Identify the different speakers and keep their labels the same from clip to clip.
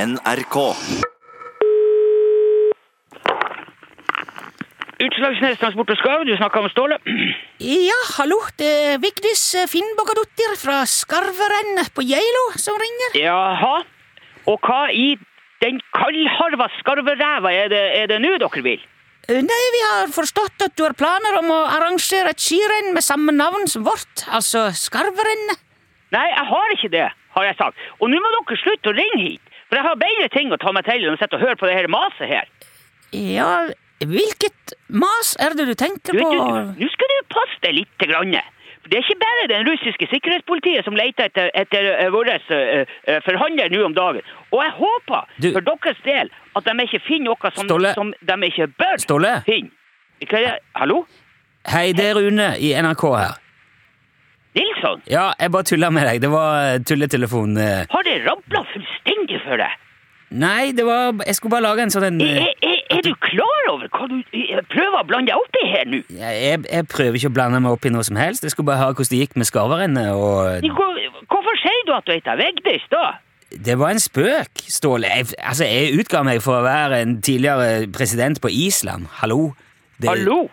Speaker 1: NRK.
Speaker 2: Utslagsnes Transport og Skarv, du snakker om Ståle.
Speaker 3: Ja, hallo, det er Vigdis Finnbogadottir fra Skarveren på Geilo som ringer.
Speaker 2: Jaha. Og hva i den kaldharva skarveræva er det, er det nå dere vil?
Speaker 3: Eh, Nei, vi har forstått at du har planer om å arrangere et skirenn med samme navn som vårt, altså Skarverennet.
Speaker 2: Nei, jeg har ikke det, har jeg sagt. Og nå må dere slutte å ringe hit. For jeg har bedre ting å ta meg til enn å sitte og høre på det her maset her.
Speaker 3: Ja, hvilket mas er det du tenker
Speaker 2: Du,
Speaker 3: på?
Speaker 2: du, nå skal du passe deg litt. Grann. For det er ikke bare den russiske sikkerhetspolitiet som leter etter, etter eh, vår eh, eh, forhandler nå om dagen. Og jeg håper
Speaker 4: Du-
Speaker 2: for deres del at de ikke finner noe som,
Speaker 4: Ståle.
Speaker 2: som de ikke bør
Speaker 4: Ståle.
Speaker 2: finne. Hva er det? Hallo?
Speaker 4: Hei, det er Rune i NRK her.
Speaker 2: Nilsson?
Speaker 4: Ja, jeg bare tulla med deg. Det var eh, tulletelefon. eh.
Speaker 2: Har det rabla fullstendig for deg?
Speaker 4: Nei, det var Jeg skulle bare lage en sånn en
Speaker 2: Er,
Speaker 4: eh,
Speaker 2: er, er, er du klar over hva du eh, prøver å blande deg opp i her nå?
Speaker 4: jeg, jeg prøver ikke å blande meg opp i noe som helst. Jeg skulle bare høre hvordan det gikk med skarverennet. Og eh,
Speaker 2: Hvor- Hvorfor sier du at du heter Vegdis, da?
Speaker 4: det var en spøk, Ståle. Jeg, altså, jeg utga meg for å være en tidligere president på Island. Hallo. Det,
Speaker 2: Hallo?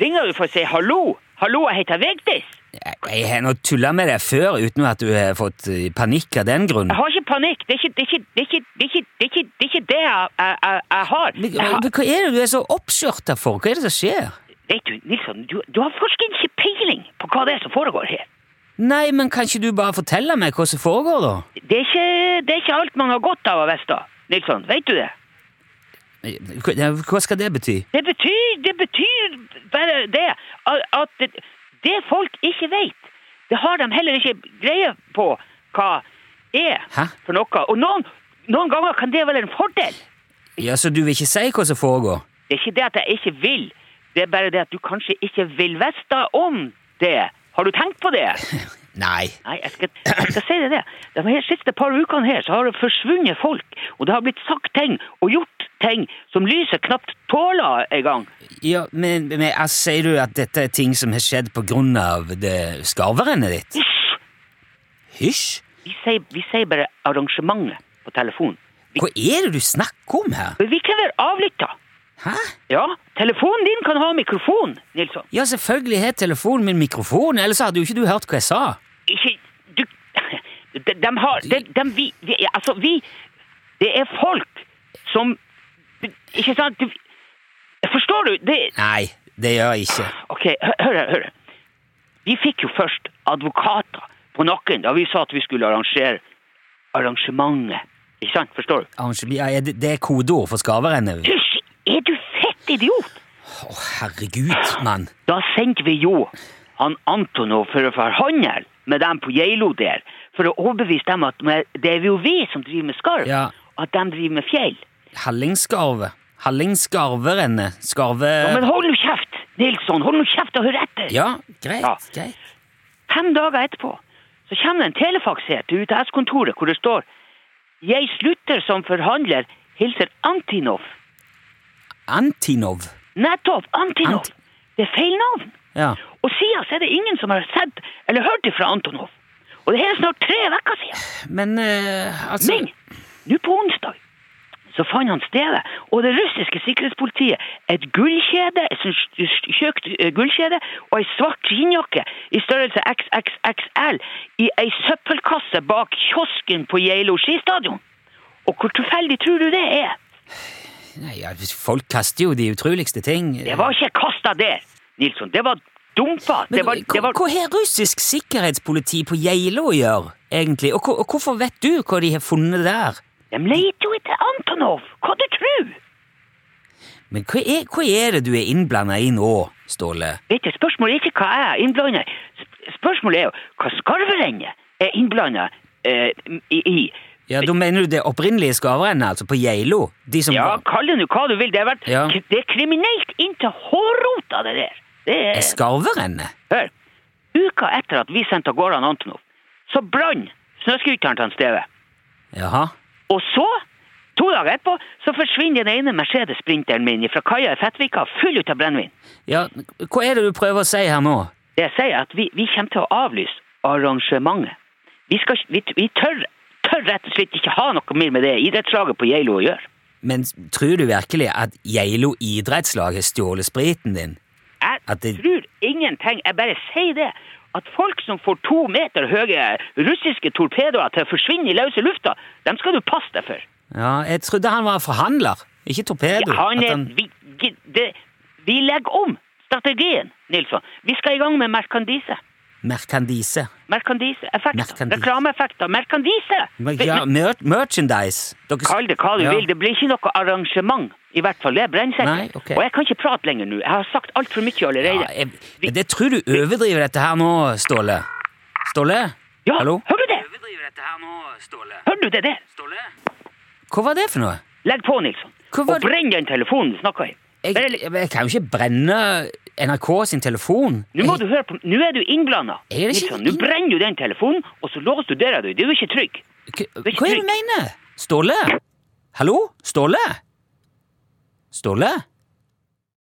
Speaker 2: Ringer du for å si hallo? Hallo, jeg heter Vegdis.
Speaker 4: Jeg, jeg har nå tulla med deg før uten at du har fått eh, panikk av den grunn.
Speaker 2: Jeg har ikke panikk. Det er ikke det, er ikke, det, er ikke, det, er ikke, det, er ikke, det, er ikke det jeg, jeg, jeg, jeg har.
Speaker 4: Men,
Speaker 2: Jeg har
Speaker 4: men hva er det du er så oppskjørta for? Hva er det som skjer?
Speaker 2: vet du, Nilsson, du, du har forsket ikke peiling på hva det er som foregår her.
Speaker 4: Nei, men kan ikke du bare fortelle meg hva som foregår, da?
Speaker 2: Det er ikke, det er ikke alt man har godt av å vite, Nilsson. Vet du det?
Speaker 4: Hva ja, hva skal det bety?
Speaker 2: Det betyr, det betyr bare det at at det, det folk ikke vet, det har de heller ikke greie på hva er
Speaker 4: Hæ?
Speaker 2: for noe. Og noen, noen ganger kan det være en fordel.
Speaker 4: Ja, Så du vil ikke si hva som foregår?
Speaker 2: Det er ikke det at jeg ikke vil, det er bare det at du kanskje ikke vil vite om det. Har du tenkt på det?
Speaker 4: Nei.
Speaker 2: Nei, jeg skal, jeg skal si deg det. De her siste par ukene her så har det forsvunnet folk, og det har blitt sagt ting og gjort ting som lyset knapt tåler en gang.
Speaker 4: Ja, men, men altså, Sier du at dette er ting som har skjedd på grunn av det skarverennet ditt?
Speaker 2: Hysj!
Speaker 4: Hysj!
Speaker 2: Vi sier, vi sier bare arrangementet på telefon. Vi,
Speaker 4: Hva er det du snakker om her?
Speaker 2: vi kan være avlytta.
Speaker 4: Hæ?
Speaker 2: Ja, telefonen din kan ha mikrofon, Nilsson.
Speaker 4: Ja, selvfølgelig har telefonen min mikrofon, ellers hadde jo ikke du hørt hva jeg sa.
Speaker 2: ikke du, de, de har de, de, vi, vi, Altså, vi Det er folk som Ikke sant? Du, forstår du? Det,
Speaker 4: Nei, det gjør jeg ikke.
Speaker 2: OK, hø- hør her. hør her. Vi fikk jo først advokater på nakken da vi sa at vi skulle arrangere arrangementet. Ikke sant? Forstår du?
Speaker 4: Arrange- Ja, ja, det, det er kodeord for skarverennet.
Speaker 2: Hysj! Er du fett idiot?
Speaker 4: Å, herregud, mann.
Speaker 2: Da sendte vi jo han Antonov for å forhandle med dem på Geilo der, for å overbevise dem at med- det er jo vi som driver med skarv,
Speaker 4: Ja.
Speaker 2: og at de driver med fjell.
Speaker 4: Hallingskarve. Hallingskarverennet. Skarve...
Speaker 2: Ja, men hold nå kjeft, Nilsson! Hold nå kjeft og hør etter!
Speaker 4: Eh. Ja, greit,
Speaker 2: Ja.
Speaker 4: greit.
Speaker 2: Fem dager etterpå så kommer det en telefaks her til UTS-kontoret hvor det står Jeg slutter som forhandler, hilser Antinov.
Speaker 4: Antinov.
Speaker 2: Nettopp! Antinov!
Speaker 4: Ant-
Speaker 2: det er feil navn!
Speaker 4: Ja.
Speaker 2: Og siden så er det ingen som har sett eller hørt ifra Antonov. Og det her er snart tre uker siden.
Speaker 4: Men eh, altså
Speaker 2: Men nå på onsdag så fant han stedet, og det russiske sikkerhetspolitiet et gullkjede, et sånt st- st- tjøkt eh, gullkjede og ei svart skinnjakke i størrelse XXXL i ei søppelkasse bak kiosken på Geilo skistadion. Og hvor tilfeldig tror du det er?
Speaker 4: Nei, ja, Folk kaster jo de utroligste ting.
Speaker 2: Det var ikke kasta der, Nilsson. Det var dumpa.
Speaker 4: Men
Speaker 2: Det var, det var
Speaker 4: hva- Hva har russisk sikkerhetspoliti på Geilo å gjøre, egentlig? Og, hva- og hvorfor vet du hva de har funnet der?
Speaker 2: De leter jo etter Antonov! Hva du tror?
Speaker 4: Men hva er, hva er det du er innblanda i nå, Ståle?
Speaker 2: Vet du, spørsmålet er ikke hva jeg er innblanda i. Sp- Spørsmålet er jo hva skarverennet er innblanda eh, i. i.
Speaker 4: Ja, Da mener du det opprinnelige skarverennet, altså, på Geilo? De som
Speaker 2: Ja,
Speaker 4: var-
Speaker 2: kall det nå hva du vil. Det, har vært,
Speaker 4: Ja.
Speaker 2: k- det er kriminelt inntil hårrota, det der. Det
Speaker 4: er
Speaker 2: er,
Speaker 4: skarverennet?
Speaker 2: hør, uka etter at vi sendte av gårde han Antonov, så brann snøskuteren til han Steve.
Speaker 4: Jaha.
Speaker 2: Og så, to dager etterpå, så forsvinner den ene Mercedes Sprinteren min fra kaia i Fettvika, full ut av brennevin.
Speaker 4: Ja, hva er det du prøver å si her nå?
Speaker 2: Det jeg sier er at vi, vi kommer til å avlyse arrangementet. Vi, skal, ikke- vi, vi tør, tør rett og slett ikke ha noe mer med det idrettslaget på Geilo å gjøre.
Speaker 4: Men tror du virkelig at Geilo idrettslag har stjålet spriten din?
Speaker 2: Jeg
Speaker 4: At det-
Speaker 2: tror ingenting. Jeg bare sier det. At folk som får to meter høye russiske torpedoer til å forsvinne i løse lufta, dem skal du passe deg for.
Speaker 4: Ja, jeg trodde han var forhandler, ikke torpedo.
Speaker 2: Ja, han
Speaker 4: At
Speaker 2: er,
Speaker 4: han-
Speaker 2: vi, gi- det, vi legger om strategien, Nilsson. Vi skal i gang med merkandise.
Speaker 4: Merkandise.
Speaker 2: Merkandiseeffekter.
Speaker 4: Merkandise.
Speaker 2: Reklameeffekter. Merkandise!
Speaker 4: Ja, mer merchandise. Dere...
Speaker 2: Kall det hva du
Speaker 4: Ja.
Speaker 2: vil. Det blir ikke noe arrangement. I hvert fall, det er
Speaker 4: Nei,
Speaker 2: brennsikkert.
Speaker 4: ok.
Speaker 2: Og jeg kan ikke prate lenger nå. Jeg har sagt altfor mye allerede.
Speaker 4: Ja, jeg, men det tror du overdriver dette her nå, Ståle. Ståle?
Speaker 2: Ja,
Speaker 4: Hallo?
Speaker 2: hører du det? Hører du det der?
Speaker 4: Hva var det for noe?
Speaker 2: Legg på, Nilsson.
Speaker 4: Hva var
Speaker 2: Og brenn den telefonen du snakker i.
Speaker 4: Jeg,
Speaker 2: Bare-
Speaker 4: jeg, jeg kan jo ikke brenne NRK sin telefon.
Speaker 2: Nå må
Speaker 4: Jeg-
Speaker 2: du høre på, nå er du innblanda.
Speaker 4: Jeg er ikke
Speaker 2: Nilsson, nå
Speaker 4: inn-
Speaker 2: brenner du den telefonen, og så låser du døra di. Du er ikke trygg.
Speaker 4: Hva
Speaker 2: ikke
Speaker 4: hva er det du
Speaker 2: trykk.
Speaker 4: mener? Ståle? Hallo? Ståle? Ståle?